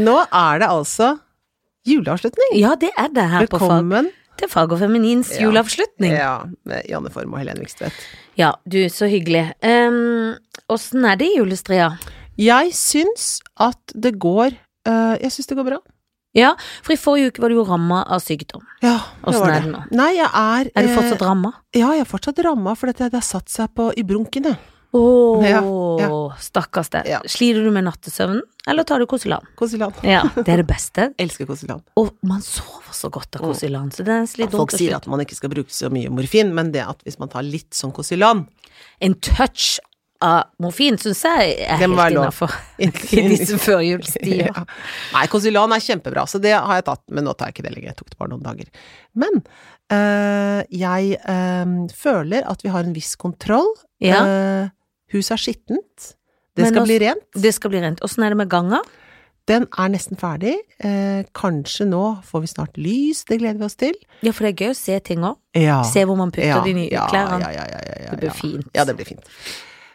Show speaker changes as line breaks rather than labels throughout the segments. Nå er det altså juleavslutning.
Ja, det er det her på
Velkommen.
fag. Til Fag og Feminins
Ja.
juleavslutning. Ja.
Ja, med Janne Form og Helene Vikstvedt.
du, så hyggelig. Åssen er det i julestria?
Jeg syns at det går eh, Jeg syns det går bra.
Ja, for i forrige uke var du jo ramma av sykdom.
Ja, det
Åssen
var
er
det.
det nå?
Nei, jeg er
Er du
eh,
fortsatt ramma?
Ja, jeg er fortsatt ramma, for dette, det har satt seg på i brunken, jeg.
Å,
Ja,
stakkars deg.
Ja.
Sliter du med nattesøvnen, eller tar du Kosilan?
Kosilan.
Ja, det er det beste.
Elsker Kosilan.
Og man sover så godt av Kosilan, så det er nesten litt dumt
Folk
å
sier
slutte.
at man ikke skal bruke så mye morfin, men det at hvis man tar litt sånn Kosilan
En touch av morfin syns jeg er
Det må være
helt
lov.
innafor i disse førjulstider.
Ja. Nei, Consilan er kjempebra, så det har jeg tatt, men nå tar jeg ikke det lenger. Jeg tok det bare noen dager. Men eh, jeg eh, føler at vi har en viss kontroll.
Ja.
Eh, huset er skittent. Det
Men
skal
også-
bli rent.
Det skal bli rent. Åssen er det med ganger?
Den er nesten ferdig. Eh, kanskje nå får vi snart lys, det gleder vi oss til.
Ja, for det er gøy å se ting òg.
Ja.
Se hvor man putter
ja,
de nye
ja,
klærne.
Ja, ja, ja, ja, ja,
Det blir
ja.
fint.
Ja, det blir fint.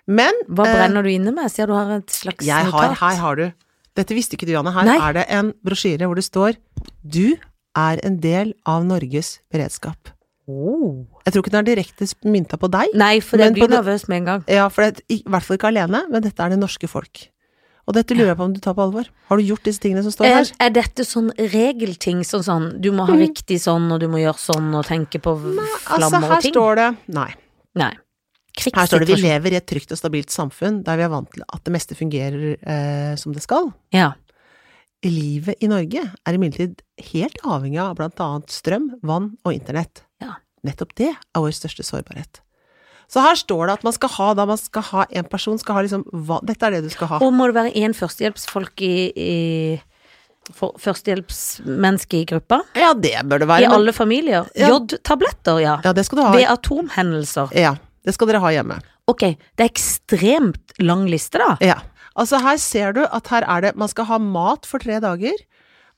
Men
Hva
eh,
brenner du inne med? Sier du har et slags
Jeg har,
notat.
her har du Dette visste ikke du, Janne. Her
Nei.
er det en brosjyre hvor det står Du er en del av Norges beredskap.
Oh.
Jeg tror ikke den er direkte mynta på deg.
Nei, for
Men
jeg blir
på det-
nervøs med en gang.
Ja, for det, er I hvert fall ikke alene, men dette er det norske folk. Og dette lurer jeg på om du tar på alvor. Har du gjort disse tingene som står
Er,
her? Mhm.
er dette sånn regelting, sånn sånn du må ha riktig sånn, og du må gjøre sånn, og tenke på
Altså,
flammer og
her
ting?
står det Nei.
Nei.
Her står det vi
Krigssituasjon.
lever i et trygt og stabilt samfunn der vi er vant til at det meste fungerer eh, som det skal.
Ja.
Livet i Norge er imidlertid helt avhengig av blant annet strøm, vann og internett.
Ja.
Nettopp det er vår største sårbarhet. Så her står det at man skal ha da man skal ha en person skal ha liksom hva, Dette er det du skal ha.
Og må det være én førstehjelpsfolk i, i for, Førstehjelpsmenneske i gruppa?
Ja, det bør det
I
være. men-
alle familier?
Ja.
Jodtabletter, ja.
Ja, det skal du ha.
Ved atomhendelser.
Ja, det skal dere ha hjemme.
Ok, det er ekstremt lang liste, da.
Ja. Altså her ser du at her er det Man skal ha mat for tre dager.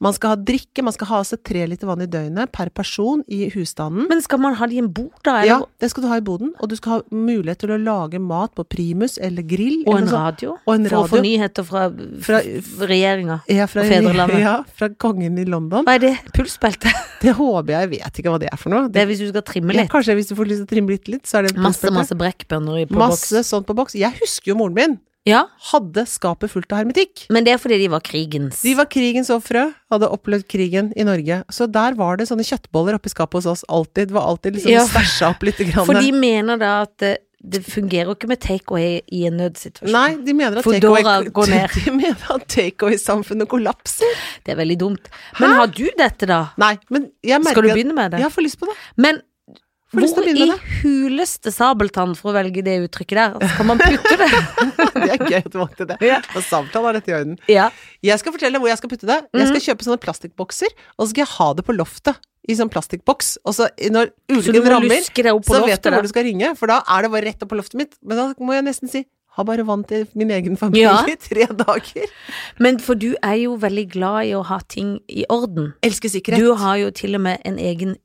Man skal ha drikke, man skal ha seg tre liter vann i døgnet per person i husstanden.
Men skal man ha det i en bok, da? Eller,
Ja, det skal du ha i boden, og du skal ha mulighet til å lage mat på primus eller grill.
og
eller
en
noe sånt.
radio?
Altså, Og en
For å få
radio.
nyheter fra,
Fra-
fra regjeringa.
Ja, fra,
Og fedrelandet.
ja, fra kongen i London.
Hva er det? Pulsbelte?
Det håper jeg, jeg vet ikke hva det er for noe.
Det er hvis du skal trimme
ja,
litt.
kanskje hvis du får lyst til å trimme litt, litt så er det en
Masse,
pulsbøtte.
masse brekkbønner i- på
Masse
boks.
sånt på boks. Jeg husker jo moren min
Ja,
hadde skapet fullt av hermetikk.
men det er fordi de var krigens.
De var krigens ofre, hadde opplevd krigen i Norge. Så der var det sånne kjøttboller oppi skapet hos oss alltid. Det var alltid liksom
Ja.
stæsja opp litt. Grann.
For de mener da at det, det fungerer jo ikke med takeaway i en nødsituasjon.
Nei, de mener at
Foodora
takeaway-
går ned.
De mener at takeaway-samfunnet kollapser.
Det er veldig dumt. Men har du dette, da?
Nei, men jeg merker
Skal du
at-
begynne med det?
Jeg får lyst på det.
Men
Får lyst til å
hvor
begynne
i
med
huleste sabeltann, for å velge det uttrykket der, altså, kan man putte det?
Det er gøy at du valgte det.
Ja.
Og samtalen er dette i orden.
ja.
Jeg skal fortelle deg hvor jeg skal putte det. Jeg
Mhm.
skal kjøpe sånne plastikkbokser, og så skal jeg ha det på loftet. I sånn plastikkboks. Og så i- når
Så du
ulykken
må
rammer,
luske deg opp på
så vet
loftet.
du hvor
da.
du skal ringe, for da er det bare rett opp på loftet mitt. Men da må jeg nesten si ha bare vann til min egen familie
Ja.
i tre dager.
Men for du er jo veldig glad i å ha ting i orden.
Elsker sikkerhet.
Du har jo til og med en egen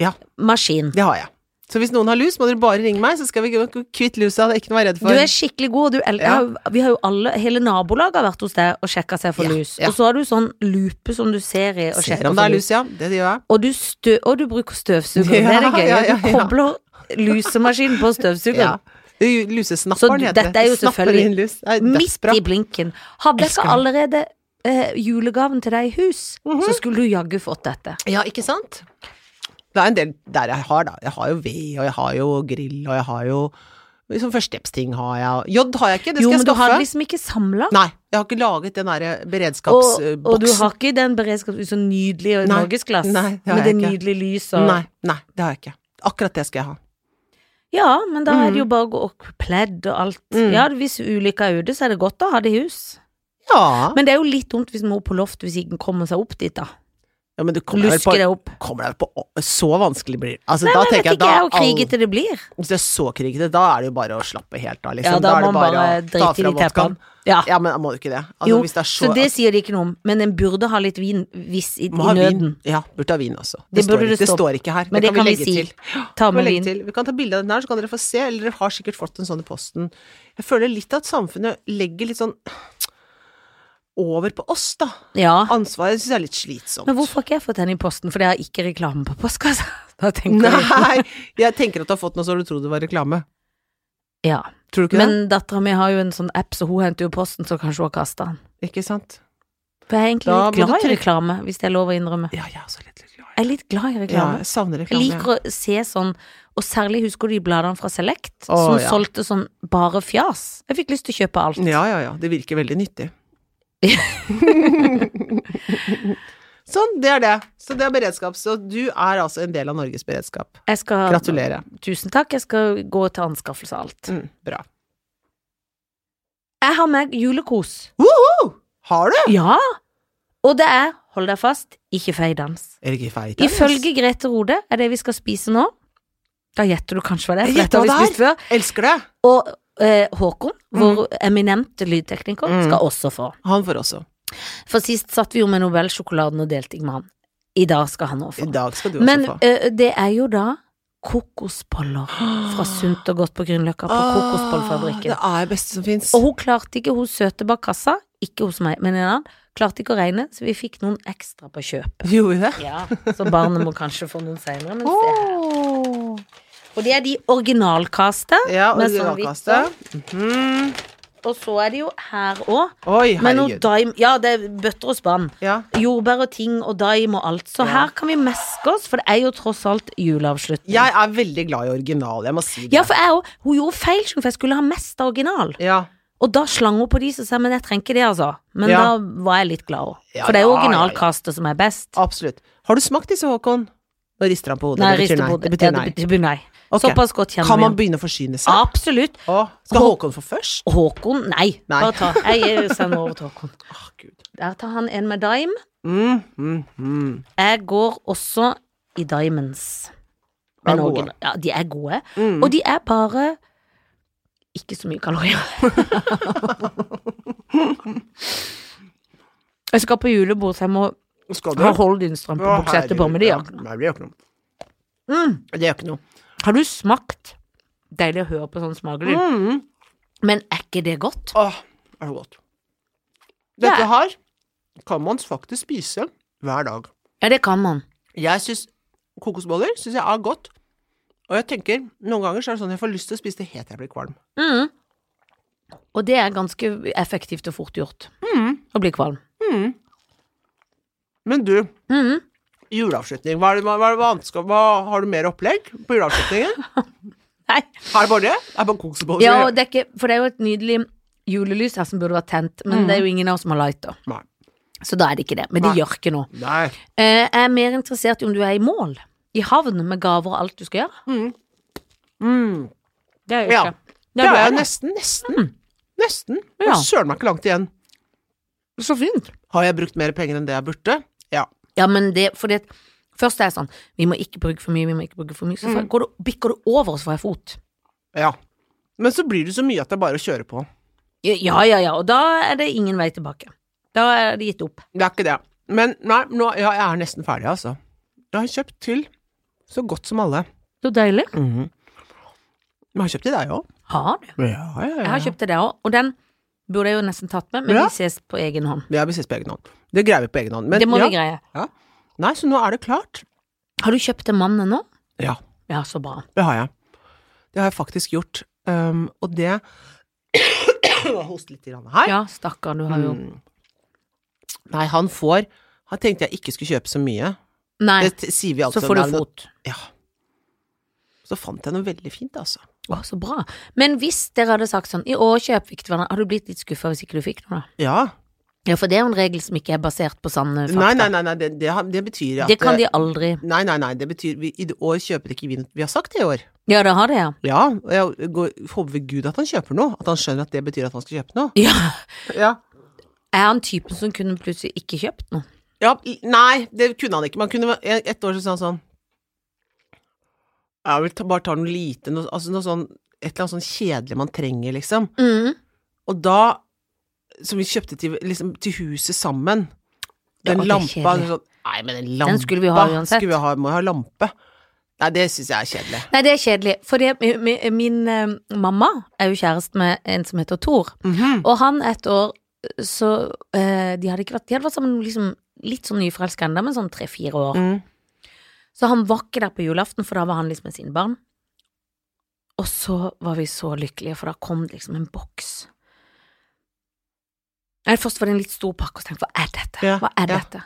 Ja.
lusemaskin.
Det har jeg. Så hvis noen har lus, må dere bare ringe meg, så skal vi kvitte lusa. Det er ikke noe å være redd
Du
for.
er skikkelig god. Du, el- jeg
Ja.
har, vi har jo alle, hele nabolaget har vært hos deg og sjekka seg for
Ja,
lus.
ja.
Og så har du sånn lupe som du ser i og
Ser
sjekker
om det
for
er lus,
lus.
ja. Det gjør jeg.
Og du, stø og du bruker støvsuger. det er
Ja,
det gøy.
ja, ja,
Du
ja.
kobler lusemaskin på
Ja.
støvsugeren. Så
Lusesnapperen heter det.
dette er jo
Snapper
selvfølgelig
inn lus. Det er
Midt
dødsbra.
i blinken. Hadde jeg
Elsker
ikke
det.
allerede eh, julegaven til deg i hus,
Mhm.
så skulle du jaggu fått dette.
Ja, ikke sant? Det er en del der jeg har, da. Jeg har jo ved, og jeg har jo grill, og jeg har jo liksom førstehjelpsting har jeg. Jod har jeg ikke, det skal
Jo, men
jeg
du har
skaffe.
liksom ikke samla.
Nei, jeg har ikke laget den derre
Og,
beredskapsboksen.
og du har ikke den beredskapen så nydelig og
Nei,
norgesglass
nei, det har jeg
med det
ikke.
nydelige lyset.
Nei, nei, det har jeg ikke. Akkurat det skal jeg ha.
Ja, men da er det jo bare å gå og pledd og alt.
Mm.
Ja, hvis ulykka er ute, så er det godt å ha det i hus.
Ja, men,
Men det er jo litt dumt hvis man må på loftet hvis ikke den kommer seg opp dit, da.
ja, men du kommer deg
Luske
vel
det opp.
på, kommer deg vel på å- Så vanskelig blir det. Altså,
Nei,
da
men vet
tenker jeg
ikke
da
jeg hvor
all-
krigete det blir.
Hvis det er så krigete, da er det jo bare å slappe helt av, liksom.
Ja, da
er
må
det
man bare
å ta
drite i
fra
de teppene.
vodkaen.
Ja.
Ja, men må du ikke det? Altså,
Ah. Jo,
hvis det er
så,
så,
det sier de ikke noe om, men en burde ha litt vin hvis i, i
Må ha
nøden.
vin. Ja, burde ha vin også. Det,
Det burde
står,
det
ikke- det
stå-
står ikke her.
Men det kan vi
legge
si.
til.
Ta
Vi kan
med
legge
vin.
til. Vi kan ta bilde av den her, så kan dere få se. Eller dere har sikkert fått en sånn i posten. Jeg føler litt at samfunnet legger litt sånn over på oss, da.
Ja.
Ansvaret syns jeg er litt slitsomt.
Ah. Men hvorfor har ikke jeg fått den i posten? Fordi jeg har ikke reklame på postkassa. Da tenker jeg
Nei, jeg tenker at du har fått noe så du tror det var reklame.
Ja.
Tror du ikke
Men dattera mi har jo en sånn app, så hun henter jo posten, så kanskje hun har kasta den.
det? Ikke sant?
For jeg er egentlig
Da må
litt
du
glad i
trykke-
reklame, hvis det er lov å innrømme.
Ja, jeg er også litt litt glad i
Jeg er litt glad i
Ja,
reklame.
jeg savner
Jeg
reklame.
liker å se sånn, og særlig husker du de bladene fra Select,
Å,
som
ja.
solgte sånn bare fjas. Jeg fikk lyst til å kjøpe alt.
Ja, ja, ja. Det virker veldig nyttig. sånn, det er det. Så det er beredskap. Så du er altså en del av Norges beredskap.
Jeg skal,
Gratulerer.
Tusen takk, jeg skal gå til anskaffelse av alt.
Mm, bra.
Jeg har med julekos.
Woho! Har du?
Ja! Og det er, hold deg fast, ikke feidans.
Er det ikke feil?
Ifølge Grete Rode er det vi skal spise nå. Da gjetter du kanskje hva det er, for
Jeg
dette har vi
gjetter hva det
spist før.
Elsker det.
Og eh, Håkon, vår eminente lydtekniker,
Mm.
skal også få.
Han får også.
For sist satt vi jo med Nobelsjokoladen og delte med han. I dag skal han også
I
få.
dag skal du også
Men
få.
eh, det er jo da kokosboller fra Sunt og Godt på Grünerløkka på
Ah,
Kokosbollfabrikken.
Det er det beste som fins.
Og hun klarte ikke, hun søte bak kassa, ikke hos meg, men en annen, klarte ikke å regne, så vi fikk noen ekstra på kjøp.
Gjorde vi det?
Ja, så barnet må kanskje få noen seinere, men se her. Og det er de originalkaste,
Ja,
Med sånn
originalkastet. Mhm.
og så er det jo her òg.
Oi,
Med noe
herregud.
daim Ja, det er bøtter og spann.
Ja.
Jordbær og ting og daim og alt. Så
Ja.
her kan vi meske oss, for det er jo tross alt juleavslutning.
Jeg er veldig glad i original, jeg må si det.
Ja, for jeg òg. Hun gjorde feil, skjønner du, for jeg skulle ha mest original.
Ja.
Og da slang hun på de som sa jeg, men jeg trenger ikke det, altså. Men
Ja.
da var jeg litt glad òg.
Ja,
For det er jo
ja, ja, ja.
originalkastet som er best.
Absolutt. Har du smakt disse, Håkon? Nå rister han på hodet.
Nei,
det betyr
rister
nei.
på
Det
hodet.
betyr
Ja,
nei.
det betyr nei.
Ok.
Såpass godt kjenner
Kan
vi
man
ham.
begynne å forsyne seg?
Absolutt.
Å, skal
Ah. Hå-
Håkon få først?
Håkon, nei.
Nei.
Bare ta. Jeg eh, sender over til Håkon.
Åh, Gud.
Der tar han en med daim.
Mm, mm, mm.
Jeg går også i Diamonds.
De er
Men
gode.
original- Ja, de er gode.
Mm.
Og de er bare ikke så mye kalorier. jeg skal på julebord, så jeg må
Skal
ha Holdin-strømpe
Å,
bukse etterpå. Men det gjør
herregud,
ikke
ja. Nei, det gjør
noe.
ikke noe.
Mm.
Det gjør ikke noe.
Har du smakt Deilig å høre på sånn smakelyd.
Mm.
Men er ikke det godt?
Åh, det er så godt.
Ja.
Dette her kan man faktisk spise hver dag.
Ja, det kan man.
Jeg syns kokosboller synes jeg er godt. Og jeg tenker, noen ganger så er det sånn jeg får lyst til å spise det helt til jeg blir kvalm.
Mm. Og det er ganske effektivt og fort gjort. Å bli kvalm.
Men du,
Mm.
juleavslutning. Hva, er det, hva, hva, er det annet skal- hva Har du mer opplegg på juleavslutningen?
Nei.
Er det bare det? Er det bare kokosboller?
Ja, og det er ikke, for det er jo et nydelig julelys her som burde vært tent, men det er jo ingen av oss som har lighter.
Nei.
Så da er det ikke det. Men det
Mm. Nei.
gjør ikke noe.
Nei.
Eh, jeg er mer interessert i om du er i mål. I havn med gaver og alt du skal gjøre.
Mm.
Det er jo
Ja.
ikke.
Det
du
er
er
jeg nesten, nesten. Nesten.
Ja.
Ja. Søren meg ikke langt igjen.
Så fint.
Har jeg brukt mer penger enn det jeg burde? Ja.
Ja, men det, for det Først er jeg sånn, vi må ikke bruke for mye, vi må ikke bruke for mye. Så
Mm.
går det, bikker det over, og så får jeg fot.
ja. Men så blir det så mye at det er bare å kjøre på.
Ja, ja, ja. Og da er det ingen vei tilbake. Da er det gitt opp.
Det er ikke det. Men nei, nå, ja, jeg er nesten ferdig, altså. Jeg har kjøpt til så godt som alle.
Så deilig.
Jeg har kjøpt til deg òg.
Har du?
Ja, ja, ja.
Jeg har kjøpt det der òg, og den burde jeg jo nesten tatt med, men
Ja.
vi ses på egen hånd.
Ja, vi ses på egen hånd. Det greier vi på egen hånd. Men
det må
ja.
vi greie.
Nei, så nå er det klart.
Har du kjøpt en mann ennå?
Ja,
Ja, så bra.
det har jeg. Det har jeg faktisk gjort. Um, og det Host litt grann her.
Ja, stakkar, du har jo
Mm. Nei, han får Han tenkte jeg ikke skulle kjøpe så mye.
Nei,
Det t- sier vi
så
alltid.
får
om
du
det er noe-
fot.
Ja. Så fant jeg noe veldig fint, altså.
Å, så bra. Men hvis dere hadde sagt sånn, i år kjøper vi ikke til hverandre, hadde du blitt litt skuffa hvis ikke du fikk noe, da?
Ja.
Ja, for det er jo en regel som ikke er basert på sanne fakta.
Nei, nei, nei, nei det, det, har- det betyr at eh,
Det kan de aldri
Nei, nei, nei, det betyr vi, I år kjøper ikke vi noe Vi har sagt det i år.
Ja, det har det, ja.
Ja, og jeg går, håper ved Gud at han kjøper noe. At han skjønner at det betyr at han skal kjøpe noe.
ja.
Ja.
Er han typen som kunne plutselig ikke kjøpt noe?
Ja, i- nei, det kunne han ikke. Man kunne, et år så sa han sånn Jeg vil ta, bare ta noe lite, noe, altså noe sånn Et eller annet sånn kjedelig man trenger, liksom.
Mm.
Og da Som vi kjøpte til, liksom, til huset sammen.
Ja,
Den
og det er
lampa
kjedelig.
sånn, Nei, men den lampa
skulle vi ha uansett.
Skulle vi ha, må ha lampe. Nei, det syns jeg er kjedelig.
Nei, det er kjedelig, for det, mi- mi- min eh, mamma er jo kjæreste med en som heter Thor,
Mhm.
og han et år så eh, de hadde ikke vært De hadde vært sammen liksom, litt sånn nyforelska ennå, men sånn tre-fire år.
Mm.
Så han var ikke der på julaften, for da var han liksom med sine barn. Og så var vi så lykkelige, for da kom det liksom en boks. Nei, Først var det en litt stor pakke, og så tenkte jeg hva er dette?
Ja,
hva er
ja.
dette?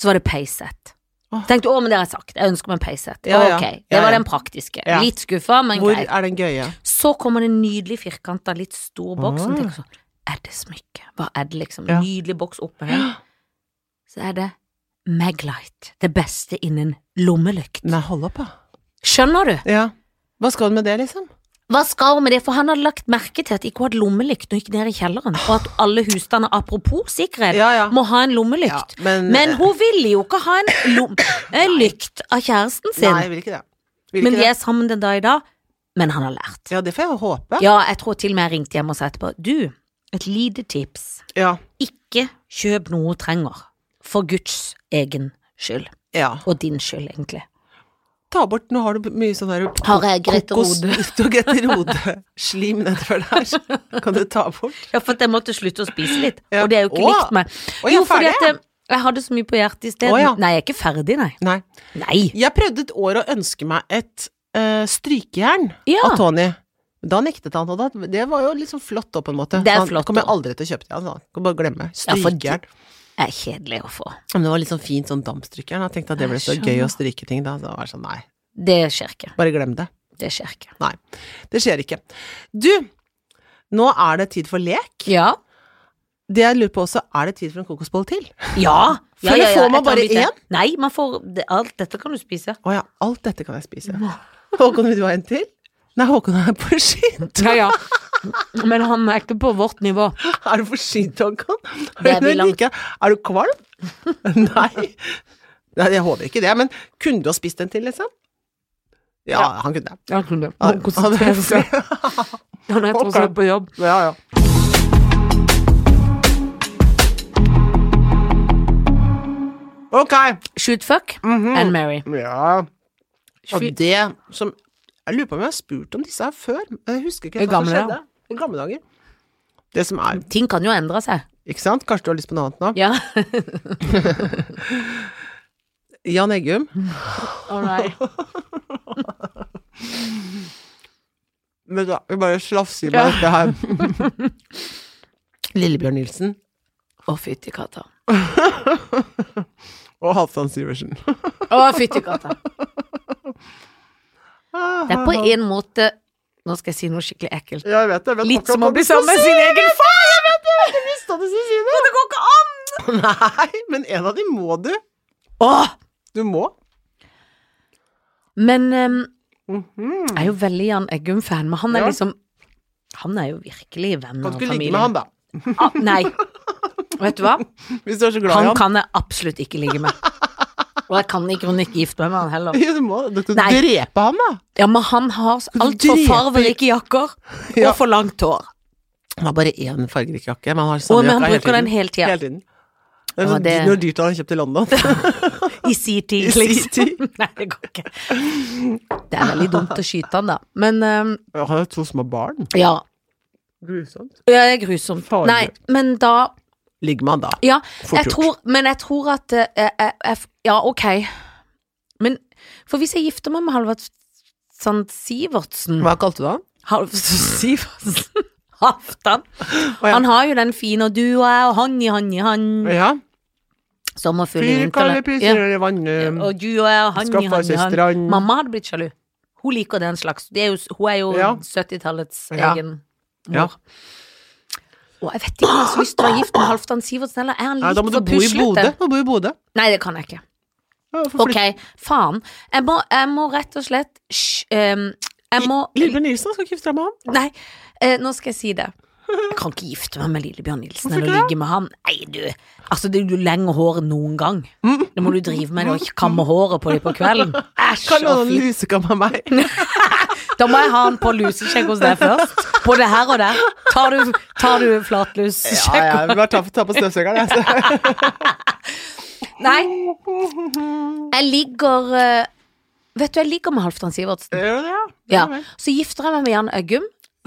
Så var det peisett.
Åh.
Tenkte å, men det har jeg sagt, jeg ønsker meg en peisett.
Ja, ja.
Ok,
Ja,
det
ja.
var den praktiske.
Ja.
Litt skuffa, men
Hvor
greit.
er den gøye?
Så kommer det en nydelig firkanta, litt stor boks, og
Åh.
tenker sånn, er det smykke? Hva er det liksom?
Ah. Ja.
Nydelig boks oppe her. Så er det Maglite, det beste innen lommelykt.
Nei, hold opp, da.
Skjønner du?
Ja. Hva skal hun med det, liksom?
Hva skal hun med det? For han hadde lagt merke til at de ikke hadde lommelykt når hun gikk ned i kjelleren, og at alle husstander, apropos sikkerhet,
Ja, ja.
må ha en
ja
lommelykt.
men eh,
Men hun ville jo ikke ha en lom en lykt av kjæresten sin.
Nei, jeg vil ikke det. Vil
men
ikke
de
det.
er sammen den dag i dag. Men han har lært.
Ja, det får jeg håpe.
Ja, jeg tror til og med jeg ringte hjem og sa etterpå Du, et lite tips.
Ja.
Ikke kjøp noe hun trenger. For Guds egen skyld.
ja.
Og din skyld, egentlig.
Ta bort Nå har du mye sånn der
Har jeg Grete
kokos-
Rode?
Du har Grete Rode-slim nedover der. Kan du ta bort?
Ja, for at jeg måtte slutte å spise litt.
Ja.
Og det er jo ikke
Å.
likt meg.
Å, jeg er
jo, fordi
ferdig,
at jeg, jeg hadde så mye på hjertet i stedet.
Å, ja.
Nei, jeg er ikke ferdig, nei.
Nei.
Nei.
Jeg prøvde et år å ønske meg et eh, strykejern
Ja.
av Tony. Da nektet han, og da, det var jo liksom flott da, på en måte.
Det er
Han-
flott,
kommer jeg
da.
aldri til å kjøpe til han, altså. Kan bare glemme.
Ja, for det-
Strykejern.
Det er kjedelig å få.
Men det var litt sånn fint sånn dampstrykejern. Jeg tenkte at det ble så
Jeg
gøy
skjønner.
å stryke ting da. Så det var sånn, nei,
Det skjer ikke.
bare glem det.
Det skjer ikke.
Det skjer ikke. Du, nå er det tid for lek.
Ja.
Det jeg lurer på også, er det tid for en kokosbolle til?
Ja.
For det får man
Jeg tar
bare
en bit til.
én.
Nei, man får det, alt dette kan du spise.
Å ja, alt dette kan jeg spise. Håkon, vil du ha en til? Nei, Håkon er forsynt.
Ja, ja. Men han er ikke på vårt nivå.
Er du forsynt, Håkon? Er
Det er
du
vi langt-
like- Er du kvalm? Nei. Nei, jeg håper ikke det, men kunne du ha spist en til, liksom? Ja, han kunne det.
Ja, kunne det.
Han- han-
Han er
tross alt
på jobb.
Ja, ja. Ok.
Shoot fuck
Mhm.
and marry.
Ja. Og
Shoot-
det som Jeg lurer på om jeg har spurt om disse her før. men Jeg husker ikke
I
helt hva som
gamle
skjedde.
dager.
I gamle dager. Det som er
Ting kan jo endre seg.
Ikke sant? Kanskje du har lyst på noe annet nå?
Ja.
Jan Eggum.
All right.
Men da, vi bare slafser i meg dette her. Lillebjørn Nilsen
Å, fytti katta.
og Halvdan Syversen.
Å, fytti katta. Det er på en måte Nå skal jeg si noe skikkelig ekkelt.
Ja, jeg vet det. Jeg vet
Litt
akkurat
som å
hva
bli
du skal
sammen med
si.
sin egen far!
Jeg visste at du skulle si det!
Det går ikke an!
Nei, men en av dem må du.
Åh!
Du må.
Men ehm,
Mhm.
jeg er jo veldig Jan Eggum-fan, men han er
Ja.
liksom Han er jo virkelig venn
Kan
av
ikke du ligge med han, da?
familien. Ah, nei. Vet du hva?
Hvis du er så glad i
Han
han.
kan jeg absolutt ikke ligge med. Og jeg kan i grunnen ikke gifte meg med han heller.
Ja, du må Du skal
Nei.
drepe han, da.
Ja, men han har
du
altfor
drepe-
farverike jakker og
Ja.
for langt hår.
Han har bare én fargerik jakke, men han har
Og
samme
men han
jakka hele
bruker den
tiden.
hele tida.
Hele tiden. Det er
Ja,
sånn
det-
dy- Noe dyrt han har kjøpt i London.
I si tid,
I si
liksom. Nei, det går ikke. Det er veldig dumt å skyte han, da. Men ehm,
Han har to små barn.
ja.
Grusomt.
Det er grusomt.
Farlig.
Nei, men da
Ligg med han, da.
Ja,
Fort
jeg
gjort.
tror, men jeg tror at eh, jeg, jeg, Ja, ok. Men For hvis jeg gifter meg med Halvard Sand Sivertsen
Hva kalte du han?
Halv... Sivertsen? Halvdan.
Å, ja.
Han har jo den fine og du og jeg og han i han i han.
Ja.
Sommerfugl i
Fyrkalle
vinter. Ja.
pyser i vannet,
Og du og jeg og han i
skaffa
han i
seg
han.
strand
Mamma hadde blitt sjalu. Hun liker den slags. Det er jo, hun er jo
Ja.
70-tallets
Ja.
egen
Ja.
mor. Og jeg vet ikke om jeg har så lyst til å være gift med Halvdan Sivertsen, eller er han
Nei,
litt
da må du
for
bo i Bodø.
puslete?
Du må bo i Bodø.
Nei, det kan jeg ikke.
Ja, for
Ok,
flytt-
faen. Jeg må, jeg må rett og slett sj- ehm, Jeg må
Lillebjørn Nilsen skal ikke gifte seg med han.
Nei, eh, nå skal jeg si det. Jeg kan ikke gifte meg med Lillebjørn Nilsen
Hvorfor
eller
ikke
ligge med han. Nei, du. Altså, det er jo lengre hår enn noen gang.
Mm.
Det må du drive med og ikke kamme håret på dem på kvelden. Æsj
Kan
og
noen
fy.
lusekamma meg?
Da må jeg ha han på lusesjekk hos deg først. Både her og der. Tar du, tar du flatlussjekk?
Ja, ja, vi bare ta, ta på støvsugeren, jeg. så-
Nei. Jeg ligger eh, Vet du, jeg ligger med Halvdan Sivertsen.
Gjør du det, ja?
Ja.
vel.
Så gifter jeg meg med Jan Øggum,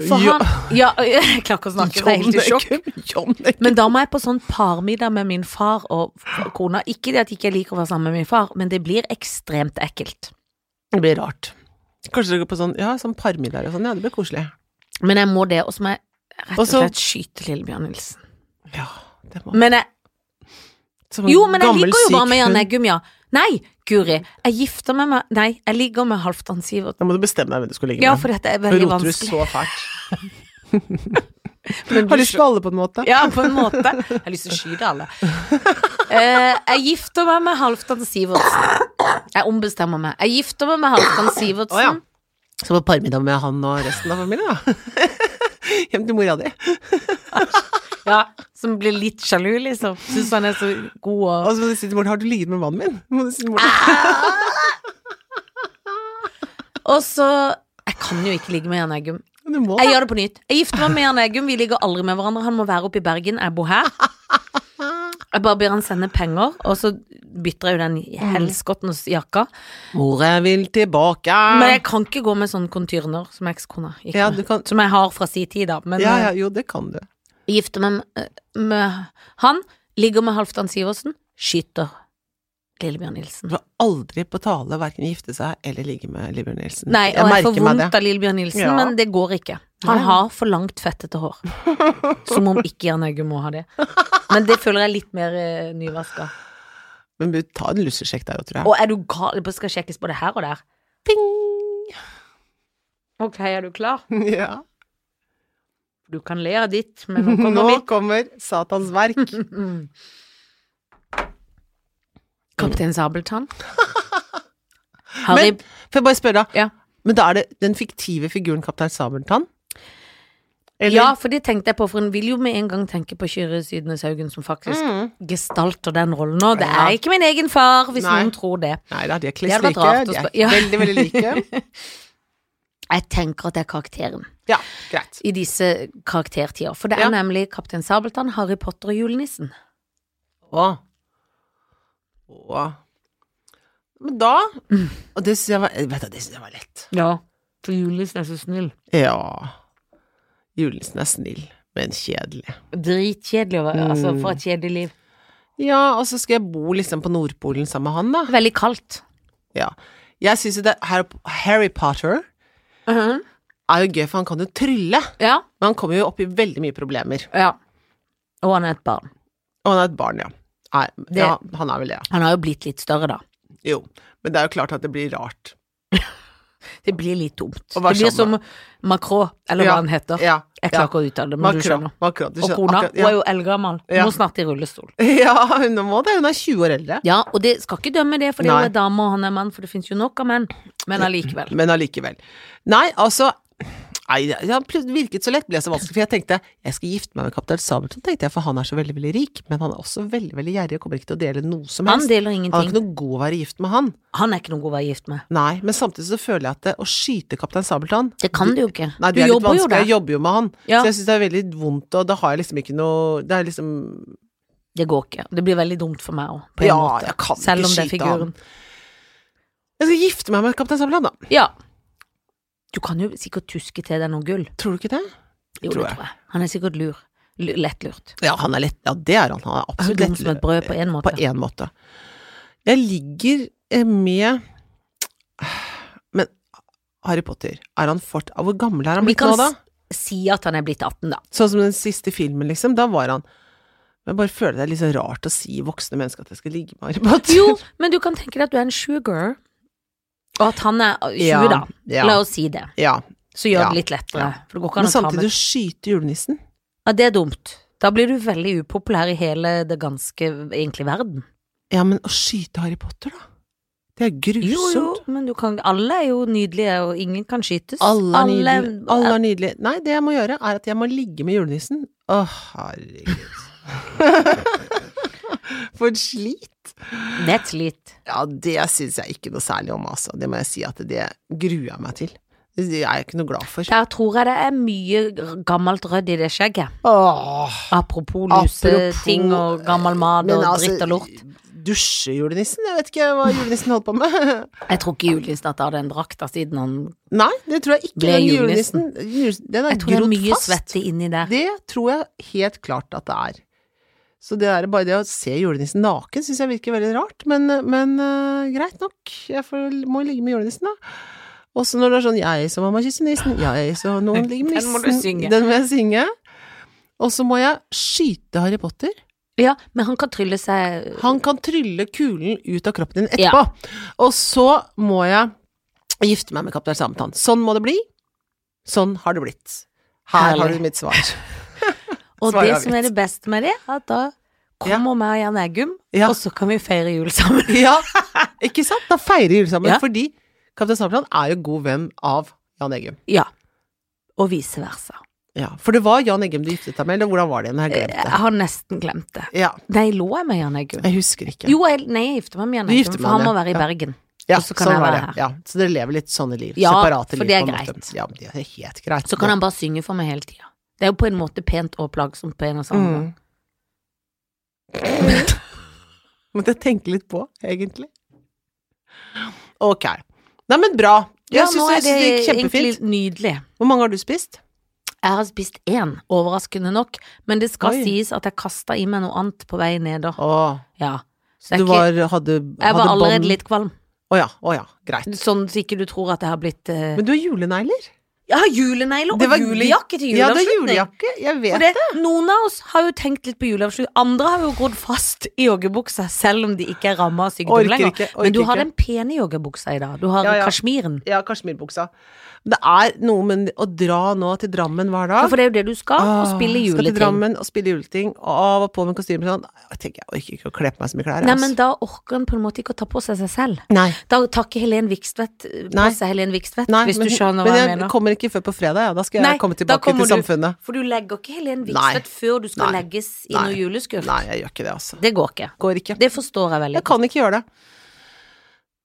For
Jo-
han Ja, jeg klarer ikke å snakke, jeg er helt i sjokk.
John Deacon.
Men da må jeg på sånn parmiddag med min far og f- kona. Ikke det at jeg ikke liker å være sammen med min far, men det blir ekstremt ekkelt.
Det blir rart. Kanskje dere går på sånn, ja, sånn parmiddag og sånn, ja, det blir koselig.
Men jeg må det, og så må jeg rett og
Og så-
slett skyte Lillebjørn Nilsen.
Ja, det må
Men jeg,
Som en
jo, men jeg
gammel,
liker jo
syk
bare med Jan
hund.
Eggum, ja. Nei, Guri, jeg gifter meg med Nei, jeg ligger med Halvdan Sivert.
Da må du bestemme deg hvem du skal ligge
Ja,
med.
for dette er
Nå
veldig
roter du
vanskelig.
så fælt.
Men
Har
du
lyst på alle, på en måte.
Ja, på en måte. Jeg har lyst til å skyte alle. Eh, jeg gifter meg med Halvdan Sivertsen. Jeg ombestemmer meg. Jeg gifter meg med Halvdan Sivertsen.
Å, ja. Så på parmiddag med han og resten av familien, da. Hjem til mora di.
Ja, som blir litt sjalu, liksom. Syns han er så god og
Og så må du si til moren har du ligget med mannen min? Må du si til moren.
Ah! Og så Jeg kan jo ikke ligge med Jan Eggum.
Du må
Jeg
det.
gjør det på nytt. Jeg gifter meg med Jan Eggum, vi ligger aldri med hverandre. Han må være oppe i Bergen, jeg bor her. Jeg bare ber han sende penger, og så bytter jeg jo den helskottens jakka.
Mora vil tilbake.
Men jeg kan ikke gå med sånn kontyrener som ekskona gikk
Ja,
med.
du kan
Som jeg har fra si tid, da. Men
Ja, ja,
eh,
jo, det kan du.
jeg gifter meg med, med han, ligger med Halvdan Sivertsen, skyter Lillebjørn Nilsen.
Du har aldri på tale verken gifte seg eller ligge med Libjørn Nielsen.
Nei, og jeg, får
merker meg
vondt
det.
av Lillebjørn Nilsen,
Ja.
men det går ikke. Han
Nei.
har for langt fettete hår. Som om ikke Jan Eggum må ha det. Men det føler jeg er litt mer eh, nyvaska.
Men du, ta en lussesjekk der òg, tror jeg.
Og er du gal? Det skal sjekkes både her og der. Ok, er du klar?
Ja.
Du kan le av ditt, men nå kommer
Nå
mitt.
kommer Satans verk.
Mm. Kaptein Sabeltann. Harry
Men får jeg bare spørre, da.
Ja.
Men da er det den fiktive figuren Kaptein Sabeltann? Eller-
Ja, for det tenkte jeg på, for en vil jo med en gang tenke på Kyrre Sydnes Haugen, som faktisk
Mm.
gestalter den rollen nå. Det
Ja.
er ikke min egen far, hvis
Nei.
noen tror det.
Nei da, de er
Det
kliss
hadde vært
like.
rart å
De er
spør- ja.
veldig, veldig like.
Jeg tenker at det er karakteren
Ja, greit.
i disse karaktertider. For det er
Ja.
nemlig Kaptein Sabeltann, Harry Potter og julenissen.
Å. Å. Men da Og det syns jeg var Vet du, det synes jeg var lett.
Ja, for julenissen er så snill.
Ja. Julenissen er snill, men kjedelig.
Dritkjedelig, å
Mm.
være- altså, for et kjedelig liv.
Ja, og så skal jeg bo liksom på Nordpolen sammen med han, da.
Veldig kaldt.
Ja. Jeg syns jo det Har- Harry Potter Uh-huh. er jo gøy, for han kan jo trylle.
Ja,
Men han kommer jo opp i veldig mye problemer.
ja. Og han er et barn.
Og han er et barn, ja. Nei,
Det-
ja, han er vel det, ja.
Han har jo blitt litt større, da.
Jo. Men det er jo klart at det blir rart.
Det blir litt dumt. Det
Og hva
blir
skjer
som Macron, eller
Ja,
hva han heter.
Ja.
Jeg klarer ikke å uttale det, men du skjønner.
Makron, du
Og
skjønner
kona,
akkurat-
hun er jo eldgammel. Hun
Ja.
må snart i rullestol.
ja. ja, hun må det. Hun er 20 år eldre.
Ja, og det skal ikke dømme det, fordi
Nei.
hun er dame og han er mann, for det finnes jo nok av menn. Men allikevel.
Men allikevel. Nei, altså Nei, det det virket så lett, ble så vanskelig, for jeg tenkte jeg skal gifte meg med kaptein Sabeltann, tenkte jeg, for han er så veldig, veldig rik, men han er også veldig, veldig gjerrig og kommer ikke til å dele noe som
Han
helst.
deler
Han er
ingenting.
ikke noe god å være gift med, han.
Han er ikke noe god å være gift med.
Nei, men samtidig så føler jeg at det, å skyte kaptein Sabeltann
Det kan du jo ikke.
Nei,
Du
det er litt
jobber jo
vanskelig.
der.
Jeg jobber jo med han.
Ja.
Så jeg syns det er veldig vondt, og da har jeg liksom ikke noe Det er liksom
Det går ikke. Det blir veldig dumt for meg òg, på en
Ja,
måte.
jeg kan ikke
Selv om det er
skyte han.
figuren.
Jeg skal gifte meg med kaptein Sabeltann, da.
Ja. Du kan jo sikkert tuske til deg noe gull.
Tror du ikke det?
Jo,
Tror
det
jeg.
tror jeg. Han er sikkert lur. L- Lettlurt.
Ja, han er lett Ja, det er han. Han er
Så
absolutt
dum som
lett
et brød, på en
på
måte.
én måte. Jeg ligger eh, med Men Harry Potter, er han fort ah, Hvor gammel er han
Vi
blitt
kan
nå, da?
s- si at han er blitt 18, da.
Sånn som den siste filmen, liksom. Da var han Men jeg bare føler det er litt så rart å si voksne mennesker at jeg skal ligge med Harry Potter.
Jo, men du kan tenke deg at du er en sugar, og at han er 20,
Ja,
da.
ja.
La oss si det.
Ja.
Så gjør
Ja,
det litt lettere.
ja.
For det går ikke
Men
an å ta
samtidig
med
å skyte julenissen
Ja, det er dumt. Da blir du veldig upopulær i hele det ganske egentlig verden.
Ja, men å skyte Harry Potter, da? Det er
Jo,
grusomt.
jo, men du kan Alle er jo nydelige, og ingen kan skytes.
Alle er nydelige. Alle er nydelige. Nei, det jeg må gjøre, er at jeg må ligge med julenissen. Å, herregud. For et slit.
Det er et slit.
Ja, det syns jeg ikke noe særlig om, altså. Det må jeg si at det gruer jeg meg til. Det er jeg ikke noe glad for.
Der tror jeg det er mye gammelt rødd i det skjegget.
Åh.
Apropos luseting
Apropos-
og gammel mat
Men
og
altså,
dritt og lort.
dusje julenissen? Jeg vet ikke hva julenissen holdt på med.
Jeg tror ikke julenissen at jeg hadde en drakt da, siden han
Nei, det tror jeg ikke.
Ble
Den
julenissen.
julenissen, julenissen den er
Jeg tror det er
grodd
mye
fast.
svette inni der.
Det tror jeg helt klart at det er. Så det er bare det å se julenissen naken syns jeg virker veldig rart, men, men øh, greit nok. Jeg får, må ligge med julenissen, da. Også når det er sånn 'jeg så mamma kysse nissen', 'jeg så noen ligger med
Den
nissen'.
må du synge.
Den må jeg synge. Og så må jeg skyte Harry Potter.
Ja, men han kan trylle seg
Han kan trylle kulen ut av kroppen din etterpå. Og så må jeg gifte meg med kaptein Sabeltann. Sånn må det bli. Sånn har det blitt. Her
Herlig.
har du mitt svar.
Og
Svaret
det
er
som
mitt.
er det beste med det, at da kommer vi og Jan Eggum,
Ja.
og så kan vi feire jul sammen.
Ja, ikke sant? Da feirer jul sammen,
Ja.
fordi Kaptein Sabeltann er jo god venn av Jan Eggum.
Ja. Og vice versa.
Ja, For det var Jan Eggum du giftet deg med, eller hvordan var det igjen? Jeg har
Jeg
glemt det.
har nesten glemt det.
Ja,
Nei, lå jeg med Jan Eggum?
jeg husker ikke.
Jo, jeg, nei, jeg gifter meg med Jan
Du
Eggum,
gifter
for han
med
må
han,
være i
ja.
Bergen.
ja, sånn
og så kan jeg
var
være
det.
her.
Ja, så dere lever litt sånne liv.
Ja,
separate
for
liv,
det er
på en
greit.
måte. Ja, det er helt greit.
Så kan han bare synge for meg hele tida. Det er jo på en måte pent og plagsomt på en og samme gang.
Mm. Måtte jeg tenke litt på, egentlig. Ok. Nei, men bra. Jeg
Ja,
synes
nå
syns
er
det
det
gikk
egentlig
kjempefint.
nydelig.
Hvor mange har du spist?
Jeg har spist én, overraskende nok, men det skal
Oi.
sies at jeg kasta i meg noe annet på vei ned da.
Å,
Ja.
så
Det er
du var, hadde,
Jeg var
hadde
allerede
bånd-
litt kvalm.
Å ja, å ja, greit.
Sånn så ikke du tror at jeg har blitt eh,
Men du har julenegler?
Jeg har julenegler
Det var-
og julejakke til
Ja, det er
juleavslutning.
julejakke. Jeg
Og
vet.
det, noen av oss har jo tenkt litt på juleavslutning. Andre har jo grodd fast i joggebuksa, selv om de ikke er ramma av sykdom
Orker
lenger.
ikke, orker
Men du har
ikke.
den pene joggebuksa i dag. Du har
Ja, ja.
kasjmiren.
Ja, kasjmirbuksa. Det er noe med å dra nå til Drammen hver
Ja,
dag.
for det er jo det du skal, å
Åh,
spille
Ah, Skal til
juleting.
Drammen og spille juleting, og av og på med kostyme sånn. Jeg tenker, jeg orker ikke å kle på meg så mye klær.
Nei,
altså.
men da orker en på en måte ikke å ta på seg seg selv.
Nei.
Da tar ikke Helen Vikstvedt eh, på
Nei.
seg Helen Vikstvedt,
Nei,
hvis
men,
du skjønner
men
hva
jeg
jeg mener.
kommer ikke før på fredag, ja. da skal jeg
Nei,
komme
da
tilbake til
kommer du-
samfunnet.
For du legger ikke Helen
Nei.
Vikstvedt før du skal
Nei.
legges i
Nei.
noe juleskuff.
Nei, jeg gjør ikke det, altså.
Det går ikke.
Går ikke.
Det forstår jeg veldig
Jeg kan ikke gjøre det.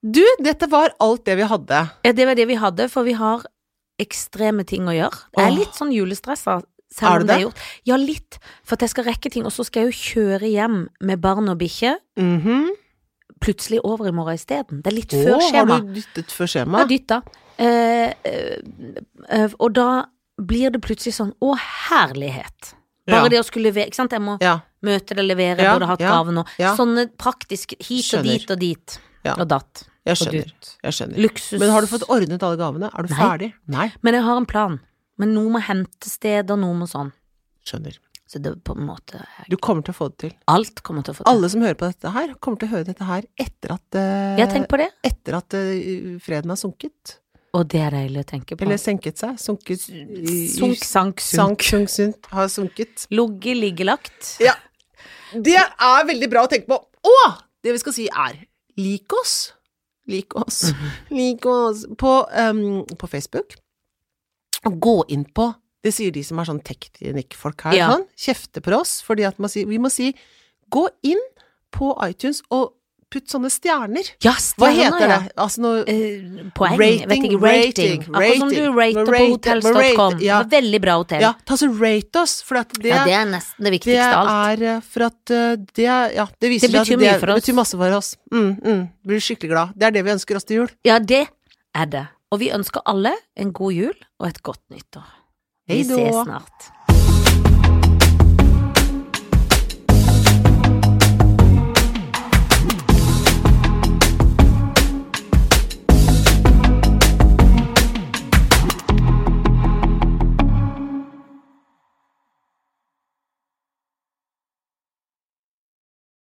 Du, dette var alt det vi hadde.
Ja, det var det vi hadde, for vi har ekstreme ting å gjøre. Jeg er
Åh.
litt sånn julestressa.
Er
Selv
du
om det er
det?
gjort. Ja, litt. For at jeg skal rekke ting. Og så skal jeg jo kjøre hjem med barn og bikkje.
Mhm.
Plutselig over i morgen isteden. Det er litt
Å,
før skjema.
Har du dyttet før
Jeg
skjema?
har dytta. Eh, eh, eh, og da blir det plutselig sånn Å, herlighet. Bare
Ja.
det å skulle levere Ikke sant, jeg må
Ja.
møte det, levere,
Ja,
burde hatt
ja,
gaven og
ja.
Sånne praktiske Hit
Skjønner.
og dit og dit.
Ja.
Og datt.
Jeg
Og
skjønner.
dutt.
Jeg skjønner.
Luksus.
Men har du fått ordnet alle gavene? Er du
Nei.
ferdig? Nei.
Men jeg har en plan. Men noe med hentesteder, noe med sånn.
Skjønner.
Så det er på en måte
Du kommer til å få det til.
Alt kommer til å få til.
Alle som hører på dette her, kommer til å høre dette her etter at, eh,
Jeg tenker på det,
etter at eh, freden har sunket.
og det er deilig å tenke på.
Eller senket seg. Sunket i- i-
Sunk, sank, sunk.
Sank, sunk, sunt. Har sunket.
Ligge, liggelagt.
Ja. Det er veldig bra å tenke på. Og det vi skal si er lik oss. Lik oss. Lik oss på, em, på Facebook. Og gå inn på Det sier de som er sånn teknikkfolk her.
Ja.
Sånn, kjefte på oss. Fordi at man sier, vi må si gå inn på iTunes og putt sånne stjerner.
Ja,
Hva
stjerner,
heter
ja.
det? Altså noe
Eh, poeng,
Rating,
vet
rating,
ikke, rating. Akkurat som du
rating.
rater på
Rate-
hotels.com.
rate, ja.
Veldig bra hotell.
Ja, ta så rate oss, for at det
Ja, det er nesten det
Det
viktigste av alt.
er eh, for at eh, det, er- ja, det viser
Det
seg
betyr
at det
mye for oss.
betyr masse for oss. Mm, mm, blir skikkelig glad. Det er det vi ønsker oss til jul.
Ja, det er det. Og vi ønsker alle en god jul og et godt nyttår.
Hei
Vi
då.
ses snart.